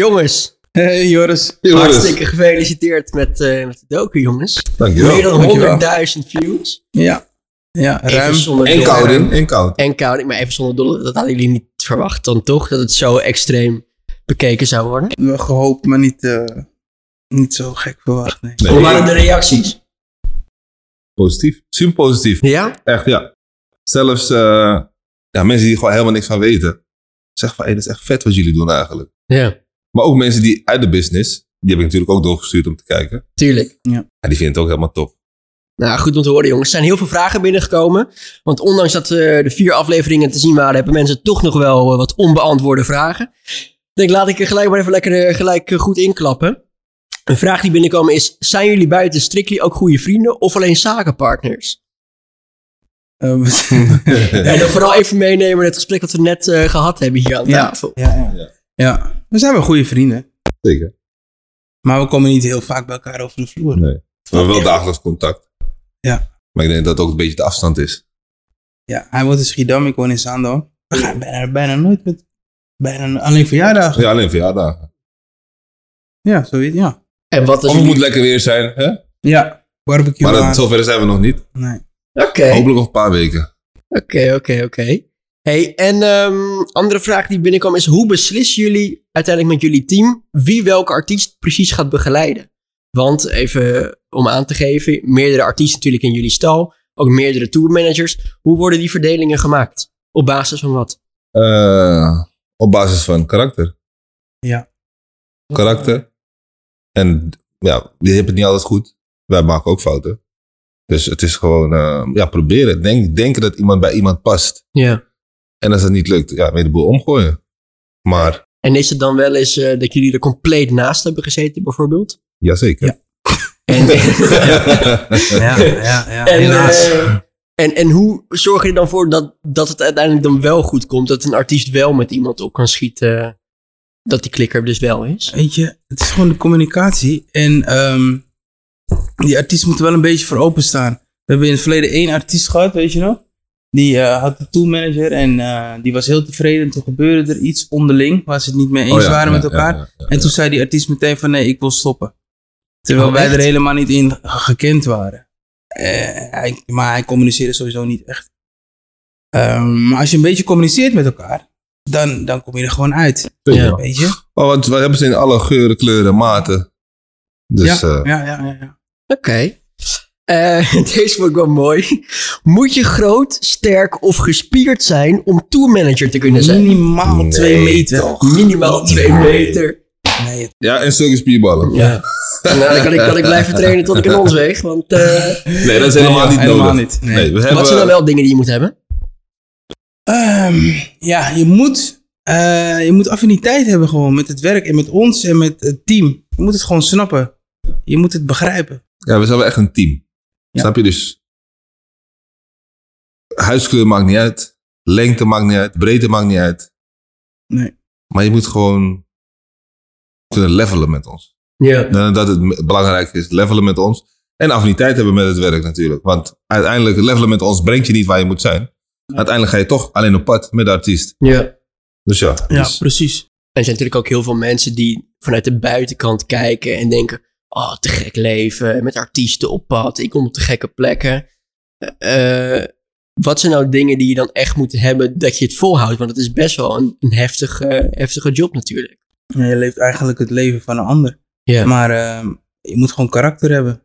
Jongens, Hey Joris. Joris. hartstikke gefeliciteerd met, eh, met de docu, jongens. Meer Dankjewel. dankjewel. dan 100.000 views. Ja, ja ruim. Even zonder En dolle. Kouden. En Kouden. En koud, maar even zonder dolle. Dat hadden jullie niet verwacht dan toch, dat het zo extreem bekeken zou worden. We gehoopt, maar niet, eh, niet zo gek verwacht. Nee. Nee, Hoe waren de reacties? Positief. Super positief. Ja? Echt, ja. Zelfs eh, ja, mensen die er gewoon helemaal niks van weten. Zeggen van, hé, dat is echt vet wat jullie doen eigenlijk. Ja, Maar ook mensen die uit de business, die heb ik natuurlijk ook doorgestuurd om te kijken. tuurlijk. Ja, die vinden het ook helemaal top. Nou, goed om te horen, jongens. Er zijn heel veel vragen binnengekomen. Want ondanks dat eh, de vier afleveringen te zien waren, hebben mensen toch nog wel eh, wat onbeantwoorde vragen. Ik denk, laat ik er gelijk maar even lekker eh, gelijk eh, goed inklappen. Een vraag die binnenkomen is: zijn jullie buiten Strictly ook goede vrienden of alleen zakenpartners? Eh, we- En dan vooral even meenemen het gesprek dat we net eh, gehad hebben hier aan Ja. tafel. ja, ja. Ja. ja, we zijn wel goede vrienden. Zeker. Maar we komen niet heel vaak bij elkaar over de vloer. Nee. We hebben wel dagelijks contact. Ja. Maar ik denk dat dat ook een beetje de afstand is. Ja, hij woont in Schiedam, ik woon in Zaandam. We gaan bijna, bijna nooit met... Bijna, alleen verjaardagen. Ja, alleen verjaardagen. Ja, zo weet ja. En wat is. Of het jullie- moet lekker weer zijn, hè? Ja, barbecue Maar aan. dat, zover zijn we nog niet. Nee. Oké. Hopelijk nog een paar weken. Oké, oké, oké. Hey, en ehm, andere vraag die binnenkwam is: hoe beslissen jullie uiteindelijk met jullie team wie welke artiest precies gaat begeleiden? Want even om aan te geven, meerdere artiesten natuurlijk in jullie stal, ook meerdere tourmanagers. Hoe worden die verdelingen gemaakt? Op basis van wat? Eh, op basis van karakter. Ja. Karakter. En ja, je hebt het niet altijd goed. Wij maken ook fouten. Dus het is gewoon eh, ja, proberen. Denk, denken dat iemand bij iemand past. Ja. En als dat niet lukt, ja, weer de boel omgooien. Maar, En is het dan wel eens eh, dat jullie er compleet naast hebben gezeten, bijvoorbeeld? jazeker. En, Ja, ja, ja. En, Helaas. eh, en, en hoe zorg je er dan voor dat, dat het uiteindelijk dan wel goed komt? Dat een artiest wel met iemand op kan schieten? Dat die klikker dus wel is? Weet je, het is gewoon de communicatie. En ehm, die artiest moet er wel een beetje voor openstaan. We hebben in het verleden één artiest gehad, weet je nog? Die eh, had de toolmanager en eh, die was heel tevreden. En toen gebeurde er iets onderling waar ze het niet mee eens Oh ja, waren ja, met elkaar. ja, ja, En toen zei die artiest meteen van nee, ik wil stoppen. Terwijl Oh, wij echt? er helemaal niet in ge- gekend waren. Eh, hij, maar hij communiceerde sowieso niet echt. Ehm, maar als je een beetje communiceert met elkaar, dan, dan kom je er gewoon uit. ja. Ja. Weet je? Maar want we hebben ze in alle geuren, kleuren, maten. Dus ja, eh, ja, ja, ja, ja. Oké. Eh, deze vond ik wel mooi. Moet je groot, sterk of gespierd zijn om tourmanager te kunnen zijn? Minimaal Nee, twee meter. toch? Minimaal twee meter. Nee, ja, en zulke spierballen. Ja. Nou, dan kan ik, kan ik blijven trainen tot ik een ons weeg. Want eh, Nee, dat is helemaal Nee, niet helemaal nodig. niet. Nee. Nee. we hebben, wat zijn dan wel dingen die je moet hebben? Ehm, ja, je moet, eh, je moet affiniteit hebben gewoon met het werk en met ons en met het team. Je moet het gewoon snappen. Je moet het begrijpen. Ja, we zijn wel echt een team. Ja. Snap je? Dus huiskleur maakt niet uit. Lengte maakt niet uit. Breedte maakt niet uit. Nee. Maar je moet gewoon kunnen levelen met ons. Ja. En Dat het me- belangrijk is, levelen met ons. En affiniteit hebben met het werk natuurlijk. Want uiteindelijk, levelen met ons brengt je niet waar je moet zijn. Uiteindelijk ga je toch alleen op pad met de artiest. ja. Dus ja. dus- precies. En er zijn natuurlijk ook heel veel mensen die vanuit de buitenkant kijken en denken: Oh, te gek leven, met artiesten op pad, ik kom op te gekke plekken. Eh, eh, wat zijn nou dingen die je dan echt moet hebben dat je het volhoudt? Want het is best wel een, een heftige, heftige job natuurlijk. Ja, je leeft eigenlijk het leven van een ander. Ja. Maar ehm, je moet gewoon karakter hebben.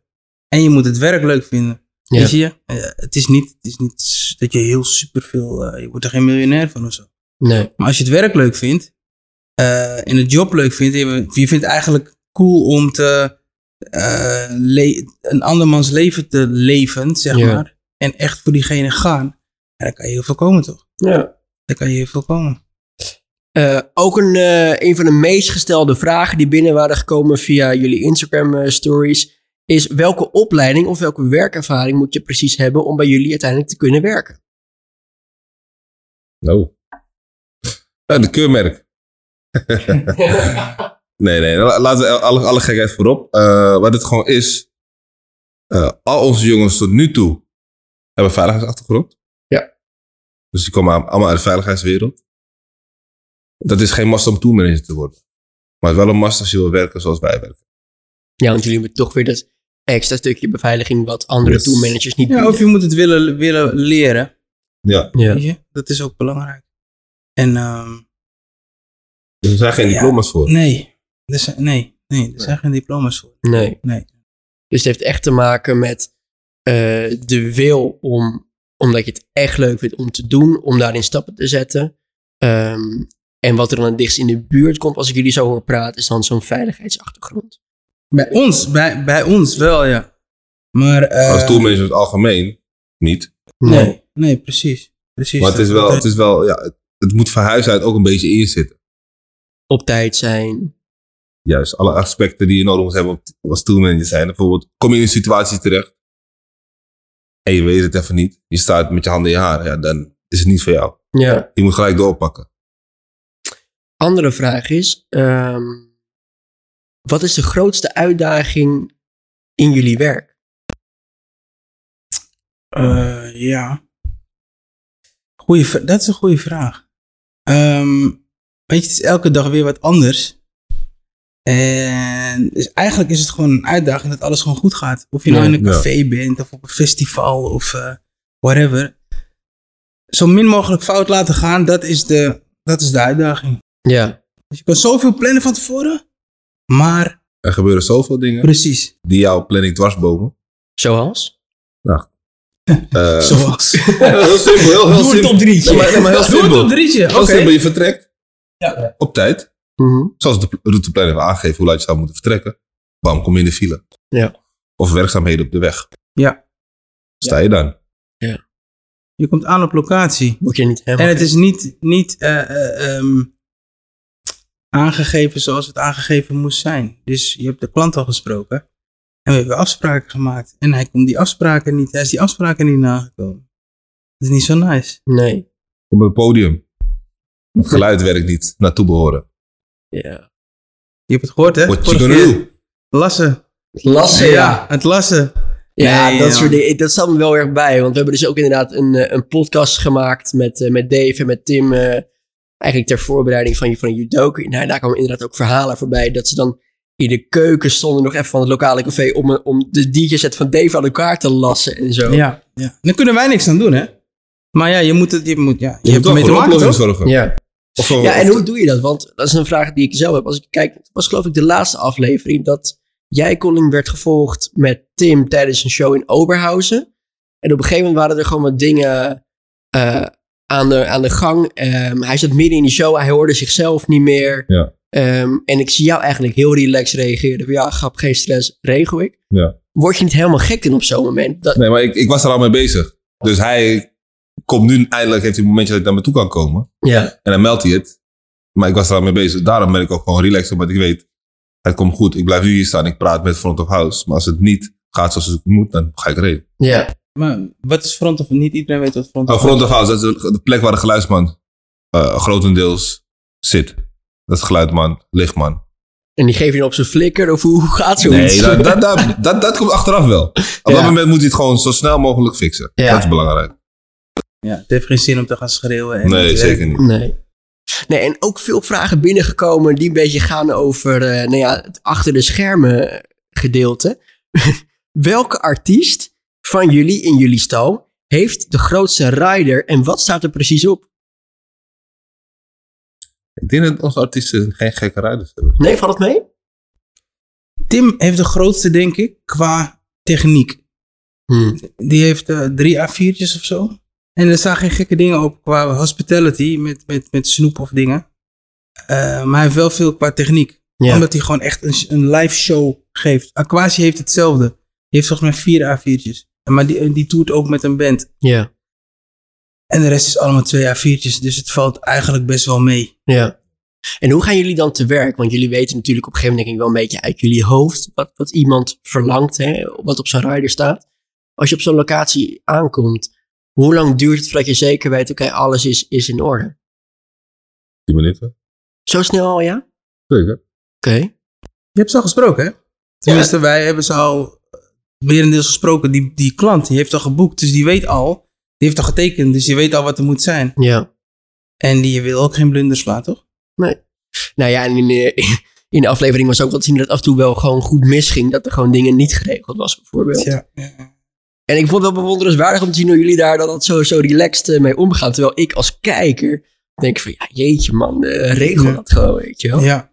En je moet het werk leuk vinden. Ja. Weet je? Eh, het, is niet, het is niet s- dat je heel superveel... eh, je wordt er geen miljonair van of zo. Nee. Maar als je het werk leuk vindt eh, en het job leuk vindt, je, je vindt het eigenlijk cool om te, eh, le- een andermans leven te leven, zeg Ja. maar. En echt voor diegene gaan. Ja, dan kan je heel veel komen, toch? Ja. Dan kan je heel veel komen. ook een, eh, een van de meest gestelde vragen die binnen waren gekomen via jullie Instagram-stories is: welke opleiding of welke werkervaring moet je precies hebben om bij jullie uiteindelijk te kunnen werken? Nou. Ja, de keurmerk. nee, nee. la- Laten we alle, alle gekheid voorop. Eh, wat het gewoon is. eh, al onze jongens tot nu toe hebben veiligheidsachtergrond. Ja. Dus die komen allemaal uit de veiligheidswereld. Dat is geen must om tourmanager te worden. Maar het is wel een must als je wil werken zoals wij werken. Ja, want jullie hebben toch weer dat extra stukje beveiliging wat andere Yes. toolmanagers niet Ja, bieden. of je moet het willen, willen leren. Ja, Ja. Weet je? Dat is ook belangrijk. En ehm, dus er zijn geen Ja. diploma's voor. nee, er zijn, nee, nee, er zijn geen diploma's voor. Nee. Nee. Dus het heeft echt te maken met eh, de wil om, omdat je het echt leuk vindt om te doen, om daarin stappen te zetten. Ehm, en wat er dan het dichtst in de buurt komt, als ik jullie zo hoor praten, is dan zo'n veiligheidsachtergrond. Bij ons, bij, bij ons wel, ja. Maar, eh, Als toolmanager in het algemeen niet. nee, nee, precies. precies Maar het is Dat- wel, dat- het is wel ja, het, het moet van huis uit ook een beetje in je zitten. Op tijd zijn. Juist, alle aspecten die je nodig moet hebben op- als toolmanager zijn. Bijvoorbeeld, kom je in een situatie terecht en je weet het even niet. Je staat met je handen in je haar, ja, dan is het niet voor jou. Ja. Je moet gelijk doorpakken. Andere vraag is, ehm, wat is de grootste uitdaging in jullie werk? Eh, ja. Goeie, vra- dat is een goede vraag. Ehm, weet je, het is elke dag weer wat anders. En dus eigenlijk is het gewoon een uitdaging dat alles gewoon goed gaat. Of je nou Ja, in een ja. café bent of op een festival of eh, whatever. Zo min mogelijk fout laten gaan, dat is de, dat is de uitdaging. Ja. Dus je kan zoveel plannen van tevoren, maar Er gebeuren zoveel dingen precies. die jouw planning dwarsbomen. Zoals? Eh, Zoals. heel simpel, heel, heel Doe het simpel. op drietje. Nee, maar, nee, maar heel Doe het simpel. op drietje, oké. Heel simpel, je vertrekt Ja. op tijd. Mhm. Zoals de routeplanner heeft aangegeven hoe laat je zou moeten vertrekken. Bam, kom je in de file. Ja. Of werkzaamheden op de weg. Ja. Sta je dan? Je komt aan op locatie. Moet je niet helemaal... En het is niet, niet eh, eh, ehm, aangegeven zoals het aangegeven moest zijn. Dus je hebt de klant al gesproken. En we hebben afspraken gemaakt. En hij komt die afspraken niet. Hij is die afspraken niet nagekomen. Dat is niet zo nice. Nee. Op het podium. Het geluid werkt niet naartoe behoren. Ja. Je hebt het gehoord, hè? What you Vorige gonna keer. do? Lassen. Lassen, ja. Het lassen. Ja, Nee, dat, ja. Soort dingen, dat staat me wel erg bij. Want we hebben dus ook inderdaad een, eh, een podcast gemaakt met, eh, met Dave en met Tim. eh, eigenlijk ter voorbereiding van, van Judoku. Nou, daar kwamen inderdaad ook verhalen voorbij. Dat ze dan in de keuken stonden nog even van het lokale café... om, een- om de DJ-set van Dave aan elkaar te lassen en zo. Ja, ja. Dan kunnen wij niks aan doen, hè? Maar ja, je moet het... Je, moet, ja, je, Je, hebt moet ermee toch te voor maken, oplossing toch? zorgen. ja. Of zo- Ja, en of- hoe doe je dat? Want dat is een vraag die ik zelf heb. Als ik kijk, het was geloof ik de laatste aflevering dat jij, Colin, werd gevolgd met Tim tijdens een show in Oberhausen. En op een gegeven moment waren er gewoon wat dingen eh, aan, de, aan de gang. Ehm, hij zat midden in die show, hij hoorde zichzelf niet meer. Ja. Ehm, en ik zie jou eigenlijk heel relaxed reageren. Van, Ja, grap, geen stress, regel ik. Ja. Word je niet helemaal gek in op zo'n moment? Dat, Nee, maar ik, ik was er al mee bezig. Dus hij komt nu, eindelijk heeft hij een momentje dat ik naar me toe kan komen. ja. En dan meldt hij het. Maar ik was er al mee bezig. Daarom ben ik ook gewoon relaxed, omdat ik weet, het komt goed. Ik blijf nu hier staan, ik praat met front of house. Maar als het niet gaat zoals het moet, dan ga ik reden. Ja. Maar wat is front of... Niet iedereen weet wat front Oh, of... front of house, dat is de plek waar de geluidsman eh, grotendeels zit. Dat is geluidman, lichtman. En die geef je dan op zijn flikker? Of hoe, hoe gaat zoiets? Nee, dat, dat, dat, dat, dat komt achteraf wel. Op dat Ja. moment moet hij het gewoon zo snel mogelijk fixen. Ja. Dat is belangrijk. Ja, het heeft geen zin om te gaan schreeuwen. En Nee, zeker niet. Nee. Nee, en ook veel vragen binnengekomen die een beetje gaan over eh, nou ja, het achter de schermen gedeelte. Welke artiest van jullie in jullie stal heeft de grootste rider en wat staat er precies op? Ik denk dat onze artiesten geen gekke rijders hebben. Nee, valt het mee? Tim heeft de grootste, denk ik, qua techniek. Die heeft eh, drie A4'tjes of zo. En er staan geen gekke dingen op qua hospitality met, met, met snoep of dingen. Eh, maar hij heeft wel veel qua techniek. Ja. Omdat hij gewoon echt een, een live show geeft. Aquasi heeft hetzelfde. Die heeft volgens mij vier A4'tjes. Maar die, die toert ook met een band. Ja, En de rest is allemaal twee A4'tjes. Dus het valt eigenlijk best wel mee. ja. En hoe gaan jullie dan te werk? Want jullie weten natuurlijk op een gegeven moment denk ik wel een beetje uit jullie hoofd wat, wat iemand verlangt, hè, wat op zijn rider staat. Als je op zo'n locatie aankomt, hoe lang duurt het voordat je zeker weet, oké, alles is, is in orde? 10 minuten? Zo snel al, ja? Oké. Zeker. Je hebt ze al gesproken, hè? Tenminste, wij hebben ze al eh, merendeels gesproken. Die, die klant die heeft al geboekt, dus die weet al. Die heeft al getekend, dus die weet al wat er moet zijn. Ja. En die wil ook geen blunders slaan, toch? Nou ja, en in, eh, in de aflevering was ook wel te zien dat het af en toe wel gewoon goed misging. Dat er gewoon dingen niet geregeld was, bijvoorbeeld. Ja. En ik vond het wel bewonderenswaardig om te zien hoe jullie daar dan dat zo, zo relaxed eh, mee omgaan. Terwijl ik als kijker denk van, ja, jeetje man, eh, regel Ja. dat gewoon, weet je wel. Ja.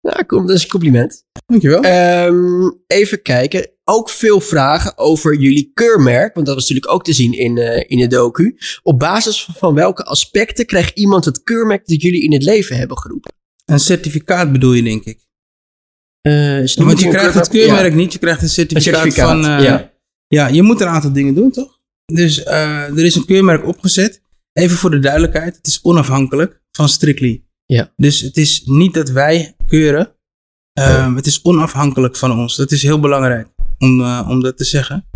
Nou, kom, dat is een compliment. Dankjewel. Ehm, even kijken. Ook veel vragen over jullie keurmerk. Want dat was natuurlijk ook te zien in, eh, in de docu. Op basis van welke aspecten krijgt iemand het keurmerk dat jullie in het leven hebben geroepen? Een certificaat bedoel je, denk ik. Eh, is het Want noemen je een krijgt Ja. het keurmerk niet, je krijgt een certificaat, Een certificaat, van... eh, ja. ja. je moet een aantal dingen doen, toch? Dus eh, er is een keurmerk opgezet. Even voor de duidelijkheid, het is onafhankelijk van Strictly. Ja. Dus het is niet dat wij keuren. Ehm, Het is onafhankelijk van ons. Dat is heel belangrijk om, eh, om dat te zeggen.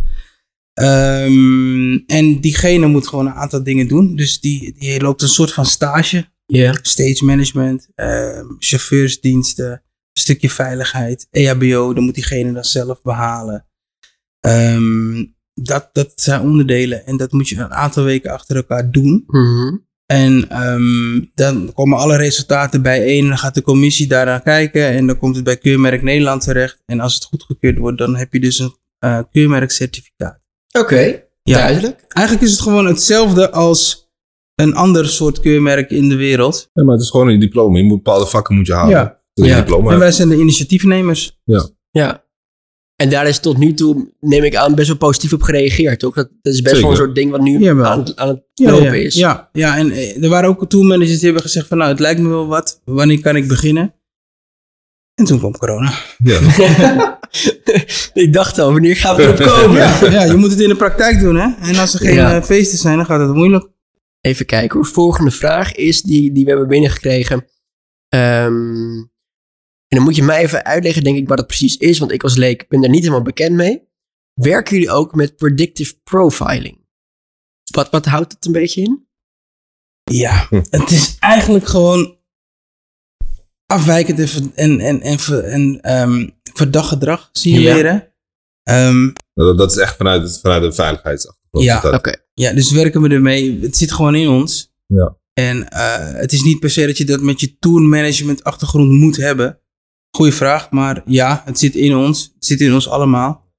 Ehm, en diegene moet gewoon een aantal dingen doen. Dus die, die loopt een soort van stage Ja. stage management, ehm, chauffeursdiensten, een stukje veiligheid, E EHBO, dan moet diegene dan zelf behalen. Ehm, dat, dat zijn onderdelen en dat moet je een aantal weken achter elkaar doen. Mhm. En ehm, dan komen alle resultaten bijeen, dan gaat de commissie daaraan kijken en dan komt het bij Keurmerk Nederland terecht. En als het goedgekeurd wordt, dan heb je dus een eh, keurmerkcertificaat. Oké, duidelijk. Eigenlijk is het gewoon hetzelfde als een ander soort keurmerk in de wereld. Ja, maar het is gewoon een diploma. Je moet bepaalde vakken moet je halen. Ja. Dat je Ja. Een diploma En hebt. wij zijn de initiatiefnemers. Ja. En daar is tot nu toe, neem ik aan, best wel positief op gereageerd, toch? Dat, dat is best wel een Zeker. soort ding wat nu Jawel. aan, het- aan het ja, lopen ja, is. Ja, ja, en eh, er waren ook toolmanagers die hebben gezegd van nou, het lijkt me wel wat, wanneer kan ik beginnen? En toen kwam corona. Ja. ik dacht al, wanneer gaan we erop Oh, komen? Ja, ja, je moet het in de praktijk doen hè. En als er geen Ja. eh, feesten zijn, dan gaat het moeilijk. Even kijken hoor. Volgende vraag is die, die we hebben binnengekregen. Ehm, en dan moet je mij even uitleggen, denk ik, wat dat precies is. Want ik als leek ben daar niet helemaal bekend mee. Werken jullie ook met predictive profiling? Wat, wat houdt het een beetje in? Ja, Hm. het is eigenlijk gewoon afwijkend en, ver- en, en, en, ver- en ehm, verdacht gedrag, zie je Ja. weer hè. Ehm, Nou, dat, dat is echt vanuit, het- vanuit de veiligheidsachtergrond. Ja. Dat- Oké. Ja, dus werken we ermee. Het zit gewoon in ons. Ja. En eh, het is niet per se dat je dat met je tourmanagement achtergrond moet hebben. Goeie vraag, maar ja, het zit in ons. Het zit in ons allemaal.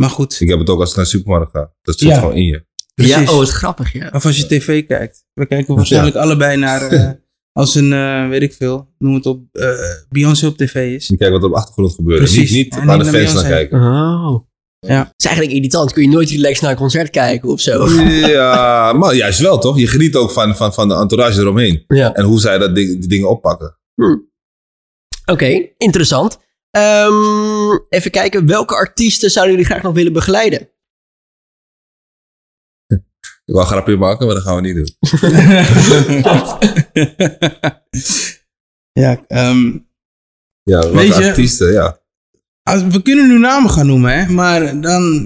Maar goed, Ik heb het ook als ik naar de supermarkt ga. Dat zit Ja. gewoon in je. Dus precies. Ja, oh, wat grappig, ja. Of als je tv kijkt. We kijken waarschijnlijk allebei naar, eh, als een, eh, weet ik veel, noem het op, eh, Beyoncé op tv is. Je kijkt wat er op de achtergrond gebeurt. Precies. Niet, En niet naar de niet naar fans naar Beyoncé. kijken. Oh. Ja. Het is eigenlijk irritant. Kun je nooit relaxed naar een concert kijken of zo. Ja, maar juist wel toch? Je geniet ook van, van, van de entourage eromheen. Ja. En hoe zij dat ding, die dingen oppakken. Oké, interessant. Ehm, even kijken, welke artiesten zouden jullie graag nog willen begeleiden? Ik wil een grapje maken, maar dat gaan we niet doen. ja, ehm, Ja, wat Weet je- artiesten, ja. Als- we kunnen nu namen gaan noemen, hè? maar dan.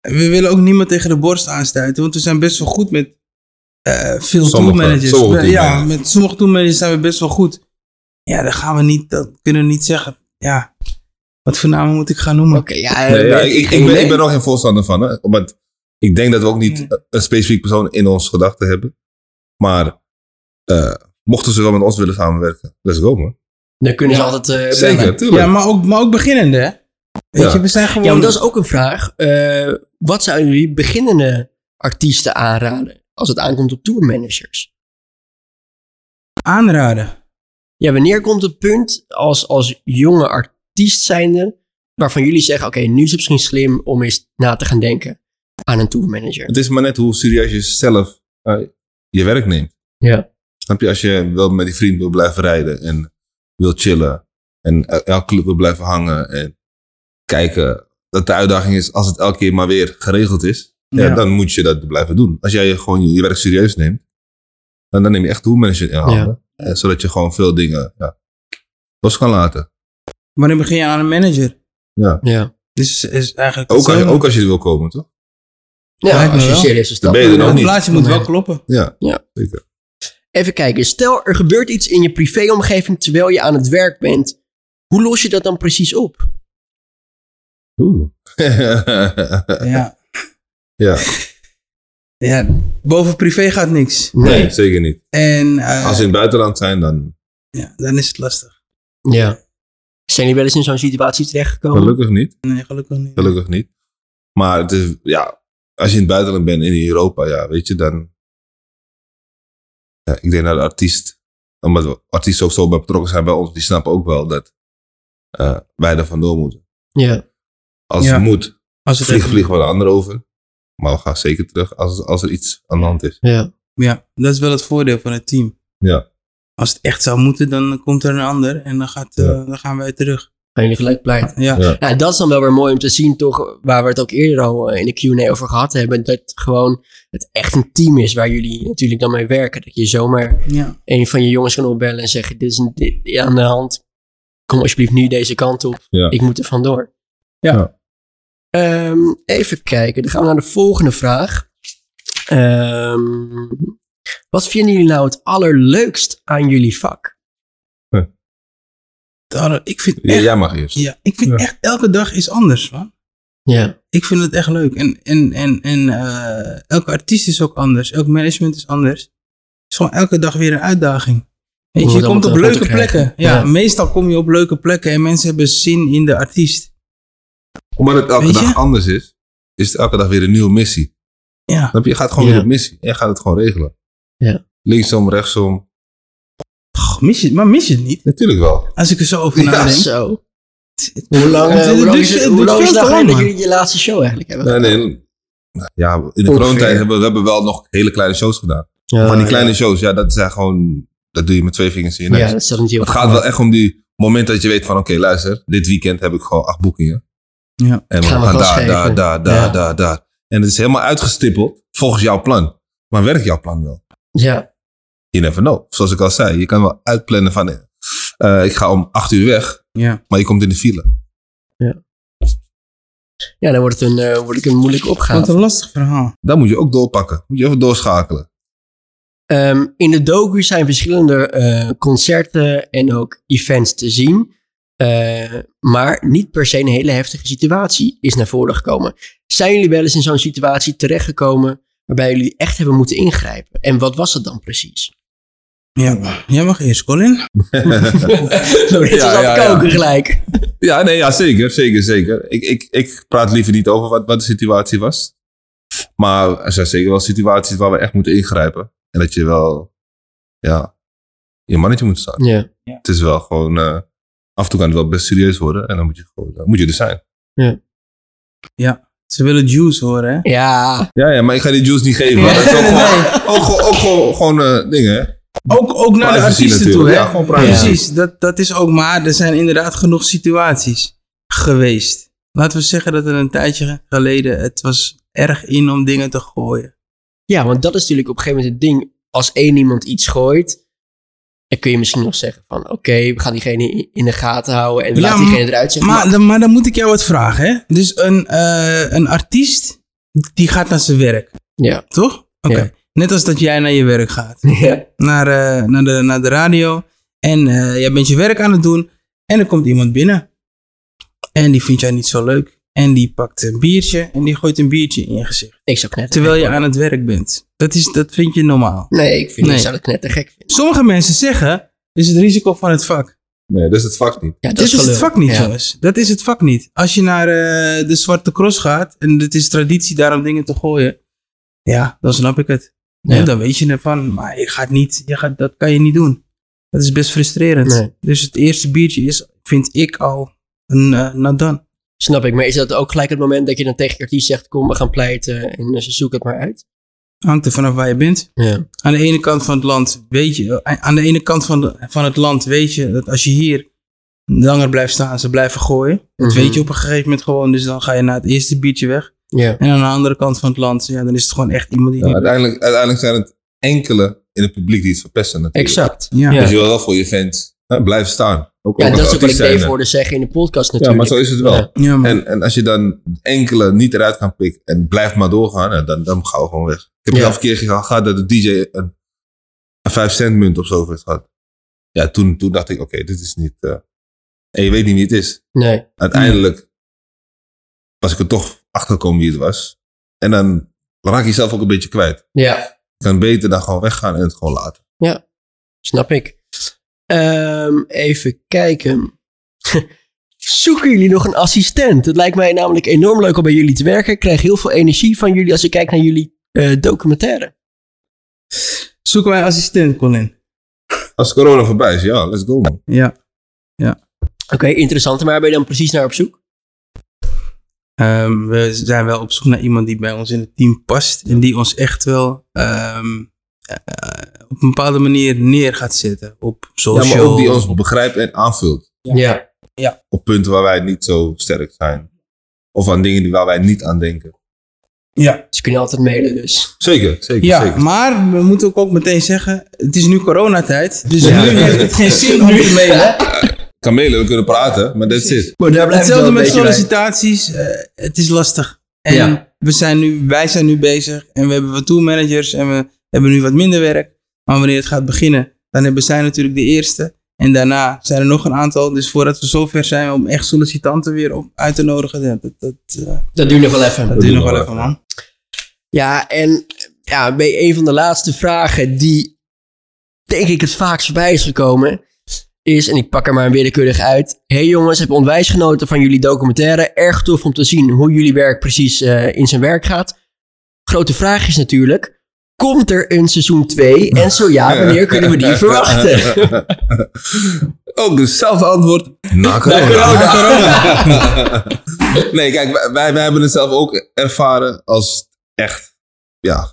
We willen ook niemand tegen de borst aanstuiten, want we zijn best wel goed met eh, veel Sommige- toolmanagers. sommige We- ja, toolmanagers. met sommige toolmanagers zijn we best wel goed. Ja, dat gaan we niet, dat kunnen we niet zeggen. Ja, wat voor namen moet ik gaan noemen? Oké, ja, eh, Nee, ja, weet ik, ik, geen ben, idee. ik ben er ook geen voorstander van. Hè? Want ik denk dat we ook niet Nee. eh, een specifiek persoon in onze gedachten hebben. Maar eh, mochten ze wel met ons willen samenwerken, let's go man. Dan kunnen ze Ja. altijd... eh, bellen. Zeker, tuurlijk. Ja, maar ook, maar ook beginnende, hè? Weet Ja. je, we zijn gewoon. Ja, want dat is ook een vraag. Eh, wat zouden jullie beginnende artiesten aanraden als het aankomt op tourmanagers? aanraden. Ja, wanneer komt het punt als, als jonge artiest zijnde... waarvan jullie zeggen, oké, nu is het misschien slim om eens na te gaan denken aan een tourmanager. Het is maar net hoe serieus je zelf eh, je werk neemt. Ja. Snap je? Als je wel met die vriend wil blijven rijden en wil chillen en el- elke club wil blijven hangen en kijken. Dat de uitdaging is als het elke keer maar weer geregeld is. Ja, Ja. dan moet je dat blijven doen. Als jij je gewoon je, je werk serieus neemt, dan, dan neem je echt toolmanagement in handen. Eh, Zodat je gewoon veel dingen ja, los kan laten. Wanneer begin je aan een manager? Ja, Dus is eigenlijk. Ook als, je, hetzelfde. ook als je er wil komen, toch? ja Lijkt me als je wel. serieus is Dan ben je er nog Het niet. plaatje moet Nee. wel kloppen. Ja, Ja. zeker. Even kijken, stel er gebeurt iets in je privéomgeving terwijl je aan het werk bent. Hoe los je dat dan precies op? Oeh. Ja. Ja. ja. Boven privé gaat niks. nee, zeker niet. En eh, Als ze in het buitenland zijn, dan ja, dan is het lastig. Ja. Zijn jullie wel eens in zo'n situatie terechtgekomen? Gelukkig niet. Nee, gelukkig niet. Gelukkig niet. Maar het is, ja, als je in het buitenland bent, in Europa, ja, weet je, dan... Ja, ik denk dat de artiest, omdat we artiesten ook zo bij betrokken zijn bij ons, die snappen ook wel dat eh, wij er vandoor moeten. Ja. Als Ja. het moet, Als het vliegen, echt- vliegen we de ander over. Maar we gaan zeker terug als, als er iets aan de hand is. ja. Ja, dat is wel het voordeel van het team. Ja. Als het echt zou moeten, dan komt er een ander en dan, gaat, eh, dan gaan wij terug. Gaan jullie gelijk pleiten. Ja, Ja. Nou, dat is dan wel weer mooi om te zien, toch, waar we het ook eerder al eh, in de Q&A over gehad hebben, dat gewoon het echt een team is waar jullie natuurlijk dan mee werken. Dat je zomaar ja. een van je jongens kan opbellen en zeggen, dit is een, dit- aan de hand, kom alsjeblieft nu deze kant op, Ja. ik moet er vandoor. Ja. Ja. Ehm, even kijken, dan gaan we naar de volgende vraag. Ehm, wat vinden jullie nou het allerleukst aan jullie vak? Het aller- Ik vind, Ja, echt, jij mag eerst. ja, ik vind Ja. echt elke dag is anders, man. Ja, ik vind het echt leuk. En, en, en, en eh, elke artiest is ook anders. Elk management is anders. Het is gewoon elke dag weer een uitdaging. Weet Om je, je het komt allemaal op te- leuke te krijgen. plekken. Ja, Ja. meestal kom je op leuke plekken en mensen hebben zin in de artiest. Omdat het elke Weet je? dag anders is, is het elke dag weer een nieuwe missie. Ja, Snap je? Je gaat gewoon Ja. weer op missie. En je gaat het gewoon regelen. Ja. Linksom, rechtsom. Goh, mis je, het- maar mis je het niet? Natuurlijk wel. Als ik er zo over Ja, nadenk. zo. Het- Hoe lang, het- eh, het hoe lang duurt- is het, het hoe duurt lang is het nou veel te geleden lang, dat man. jullie je laatste show eigenlijk hebben Nee, gedaan? nee. Ja, in de Ongeveer. coronatijd hebben we, we hebben wel nog hele kleine shows gedaan. Ja, maar die kleine shows, ja, dat zijn gewoon... Dat doe je met twee vingers in je ja. neus. Ja, dat staat niet heel het gaat wel echt om die moment dat je weet van... Oké, luister. Dit weekend heb ik gewoon acht boekingen. Ja. En we Gaan gaan, we gas daar, geven. daar, daar, daar, Ja. daar, daar. En het is helemaal uitgestippeld volgens jouw plan. Maar werkt jouw plan wel? Ja, You never know. Zoals ik al zei, je kan wel uitplannen van... eh, ik ga om acht uur weg, Ja, maar je komt in de file. ja dan wordt het een, eh, wordt het een moeilijke wat opgave. een lastig verhaal. Dan moet je ook doorpakken. Moet je even doorschakelen. Ehm, in de docu zijn verschillende eh, concerten en ook events te zien. Eh, maar niet per se een hele heftige situatie is naar voren gekomen. Zijn jullie wel eens in zo'n situatie terechtgekomen waarbij jullie echt hebben moeten ingrijpen? En wat was het dan precies? Ja, jij mag eerst, Colin. Lorenzo Ja, zat ja, te ja. koken gelijk. ja, nee, ja, zeker. Zeker, zeker. Ik, ik, ik praat liever niet over wat, wat de situatie was. Maar er zijn zeker wel situaties waar we echt moeten ingrijpen. En dat je wel, ja, je mannetje moet staan. Ja. Het is wel gewoon, eh, af en toe kan het wel best serieus worden. En dan moet je, gewoon, dan moet je er zijn. Ze willen juice horen, hè? ja. Ja, ja, maar ik ga die juice niet geven. hoor. Dat is ook gewoon, ook, gewoon- ook gewoon, gewoon eh, dingen, hè. Ook, ook naar de Privacy artiesten toe, hè? natuurlijk. Ja, gewoon privacy. Precies, dat, dat is ook maar. Er zijn inderdaad genoeg situaties geweest. Laten we zeggen dat er een tijdje geleden... het was erg in om dingen te gooien. Ja, want dat is natuurlijk op een gegeven moment het ding. Als één iemand iets gooit, dan kun je misschien nog zeggen van... oké, we gaan diegene i- in de gaten houden en we Ja, laten diegene eruit zeggen. Maar, Maar, dan, maar dan moet ik jou wat vragen, hè? Dus een, eh, een artiest, die gaat naar zijn werk, ja. toch? Oké. Ja. Net als dat jij naar je werk gaat. ja. Naar, eh, naar, de, naar de radio. En eh, jij bent je werk aan het doen. En er komt iemand binnen. En die vindt jij niet zo leuk. En die pakt een biertje. En die gooit een biertje in je gezicht. Ik zou knetter terwijl je aan het werk bent. Dat, is, dat vind je normaal. Nee, ik, vind, Nee. ik zou het knetter gek vinden. Sommige mensen zeggen, is het risico van het vak. Nee, dat is het vak niet. Ja, dat Dat is, het gelul. vak niet, Ja. jongens. Dat is het vak niet. Als je naar eh, de Zwarte Cross gaat, en het is traditie daar om dingen te gooien, ja, dan snap ik het. Ja. Ja, dan weet je ervan, maar je gaat niet, je gaat, dat kan je niet doen. Dat is best frustrerend. Nee. Dus het eerste biertje is, vind ik al, een eh nadan. Snap ik, maar is dat ook gelijk het moment dat je dan tegen je artiest zegt... kom, we gaan pleiten en eh, ze zoeken het maar uit? Hangt er vanaf waar je bent. Ja. aan de ene kant van het land weet je, eh, aan de ene kant van, de- van het land weet je dat als je hier langer blijft staan, ze blijven gooien. Dat Mhm. weet je op een gegeven moment gewoon. Dus dan ga je na het eerste biertje weg. Ja. En aan de andere kant van het land, ja, dan is het gewoon echt iemand die. Ja, Ja, Nou, uiteindelijk, uiteindelijk zijn het enkele in het publiek die het verpesten natuurlijk. Exact. ja. Ja. Dus je wil wel voor je fans hè, blijven staan. Ook, Ja, ook dat als is ook wat ik artiest zijnde. Dave hoorde zeggen in de podcast Ja, natuurlijk. maar zo is het wel. Ja. man. En, en als je dan enkele niet eruit kan pikken en blijft maar doorgaan, hè, dan, dan gaan we gewoon weg. Ik heb Ja. zelf een keer gegaan- gehad dat de DJ een, een 5 cent munt of zo heeft gehad. Ja, toen, toen dacht ik, oké, dit is niet... eh, en je weet niet wie het is. Nee. Uiteindelijk was ik er toch achtergekomen wie het was. En dan raak je zelf ook een beetje kwijt. Ja. Je kan beter dan gewoon weggaan en het gewoon laten. Snap ik. Ehm, even kijken. Zoeken jullie nog een assistent? Het lijkt mij namelijk enorm leuk om bij jullie te werken. Ik krijg heel veel energie van jullie als ik kijk naar jullie eh, documentaire. Zoek mijn assistent, Colin. Als corona voorbij is, ja, let's go man. Ja. Oké, interessant. Maar ben je dan precies naar op zoek? Ehm, we zijn wel op zoek naar iemand die bij ons in het team past. En die ons echt wel ehm, eh, op een bepaalde manier neer gaat zetten. Op Ja, social. maar ook die ons begrijpt en aanvult. Ja. Op punten waar wij niet zo sterk zijn. Of aan dingen die- waar wij niet aan denken. Ja, Ze kunnen altijd mailen dus. Zeker, zeker, ja zeker. maar we moeten ook, ook meteen zeggen, het is nu coronatijd. Dus Ja. nu heeft het geen zin om te mailen. Kamelen, we kunnen praten, maar that's it. Maar daar blijft Hetzelfde met sollicitaties. eh, het is lastig. En Ja. we zijn nu, wij zijn nu bezig en we hebben wat toolmanagers en we hebben nu wat minder werk. Maar wanneer het gaat beginnen, dan hebben zij natuurlijk de eerste. En daarna zijn er nog een aantal. Dus voordat we zover zijn om echt sollicitanten weer op uit te nodigen, dat, dat, dat, eh, Dat duurt nog wel even. dat duurt nog wel even, man. Ja, en ja, bij een van de laatste vragen die denk ik het vaakst voorbij is gekomen, is, en ik pak er maar willekeurig uit. hey jongens, heb onwijs genoten van jullie documentaire. Erg tof om te zien hoe jullie werk precies eh, in zijn werk gaat. Grote vraag is natuurlijk, komt er een seizoen 2? En zo ja, wanneer kunnen we die verwachten? Ook hetzelfde antwoord. Na corona. nee, kijk, wij- wij, wij hebben het zelf ook ervaren als echt, ja,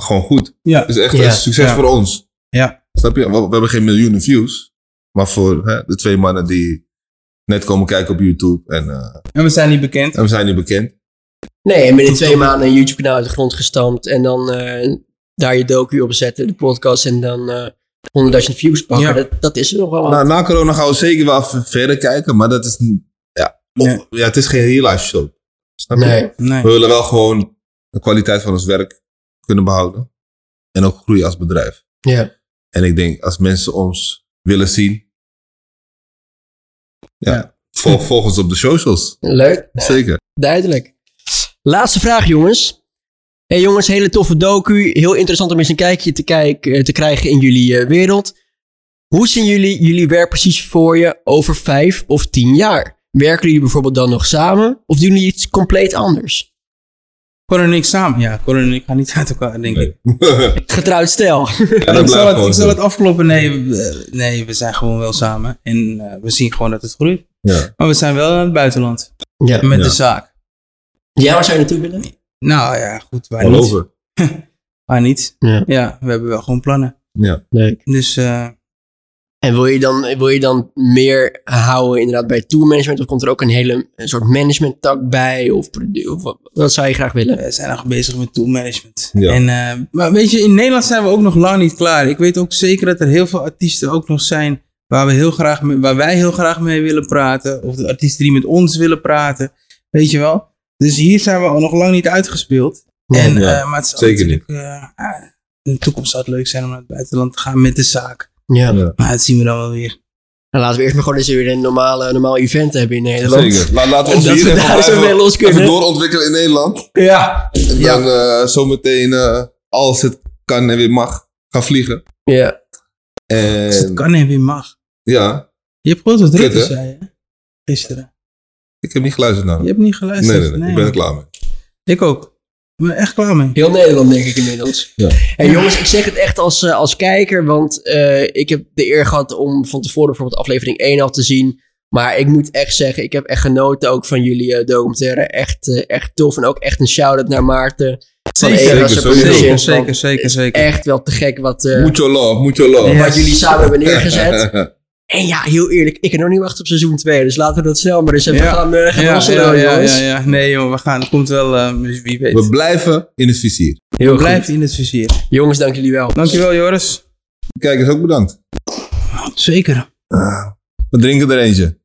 gewoon goed. Ja. Het is echt Ja. een succes Ja. voor ons. Ja. Snap je? We, we hebben geen miljoenen views, maar voor hè, de twee mannen die net komen kijken op YouTube en, eh, En we zijn niet bekend. en we zijn niet bekend. Nee, en binnen twee maanden een YouTube-kanaal uit de grond gestampt en dan eh, daar je docu op zetten, de podcast en dan eh 100.000 views pakken. Ja. Dat, dat is er nog Oh. wel wat. Na, na corona gaan we zeker wel even verder kijken, maar dat is, niet- ja, of- Nee. ja, het is geen real life show. Snap je? nee. Nee. We willen wel gewoon de kwaliteit van ons werk kunnen behouden. En ook groeien als bedrijf. Ja. En ik denk, als mensen ons willen zien. Ja, Ja. Volg, volg ons op de socials. Leuk, Zeker. duidelijk. Laatste vraag, jongens. hey jongens, hele toffe docu. Heel interessant om eens een kijkje te, kijk, eh, te krijgen in jullie eh, wereld. Hoe zien jullie jullie werk precies voor je over vijf of tien jaar? Werken jullie bijvoorbeeld dan nog samen? Of doen jullie iets compleet anders? Corin en ik samen. Ja, Corin en ik gaan niet uit elkaar, denk ik. Getrouwd stel. Ja, ik, dat zal blijft het, ik gewoon zal zo. het afkloppen. Nee, we, nee, we zijn gewoon wel samen. En eh, we zien gewoon dat het groeit. Ja. Maar we zijn wel naar het buitenland. Ja. Met Ja. de zaak. Ja, waar zou je naartoe willen? Nou ja, goed. Waar All niet. over. Waar niet. Ja. Ja. we hebben wel gewoon plannen. Leuk. Dus eh, En wil je, dan, wil je dan meer houden inderdaad bij tourmanagement? Of komt er ook een hele een soort managementtak bij? Of, produ- of wat, wat zou je graag willen? we zijn nog bezig met toolmanagement. Ja. En, eh, maar weet je, in Nederland zijn we ook nog lang niet klaar. Ik weet ook zeker dat er heel veel artiesten ook nog zijn... Waar, we heel graag mee- waar wij heel graag mee willen praten. Of de artiesten die met ons willen praten. Weet je wel? Dus hier zijn we al nog lang niet uitgespeeld. En, ja. eh, maar het zal Zeker natuurlijk, eh, ah, in de toekomst zou het leuk zijn om naar het buitenland te gaan met de zaak. ja. Maar dat zien we dan wel weer. Nou, laten we eerst maar gewoon eens weer een normale, normaal event hebben in Nederland. Zeker. La- laten we ons Dat hier we even, daar zo mee los blijven, kunnen. even doorontwikkelen in Nederland. Ja. En dan eh, zometeen, eh, als het kan en weer mag, gaan vliegen. Ja. Dus het En kan en weer mag. ja, Je hebt gehoord wat Rutte Kut, hè? zei, hè? Gisteren. ik heb niet geluisterd naar hem. Je hebt niet Nee, geluisterd. nee, nee, Ik ben er klaar mee. Ik ook. Ik ben er echt klaar mee. Heel Nederland, denk ik inmiddels. Ja. En jongens, ik zeg het echt als, eh, als kijker, want eh, ik heb de eer gehad om van tevoren bijvoorbeeld aflevering 1 al te zien. Maar ik moet echt zeggen, ik heb echt genoten ook van jullie eh documentaire. Echt, eh, echt tof. En ook echt een shout-out naar Maarten. Van Zeker, Eros en zeker, Productions, Zeker, want zeker, zeker, zeker. Echt wel te gek wat, eh, Mucho love, mucho love. Ja. wat jullie samen hebben neergezet. En ja, heel eerlijk, ik kan nog niet wachten op seizoen 2. Dus laten we dat snel maar eens even Ja. gaan, eh gaan Ja, lossen, ja, ja, jongens. ja, ja. Nee joh, we gaan. Het komt wel, eh, dus wie weet. We blijven in het vizier. Heel Blijf goed. in het vizier. Jongens, dank jullie wel. Dankjewel Joris. Kijkers ook bedankt. Zeker. We drinken er eentje.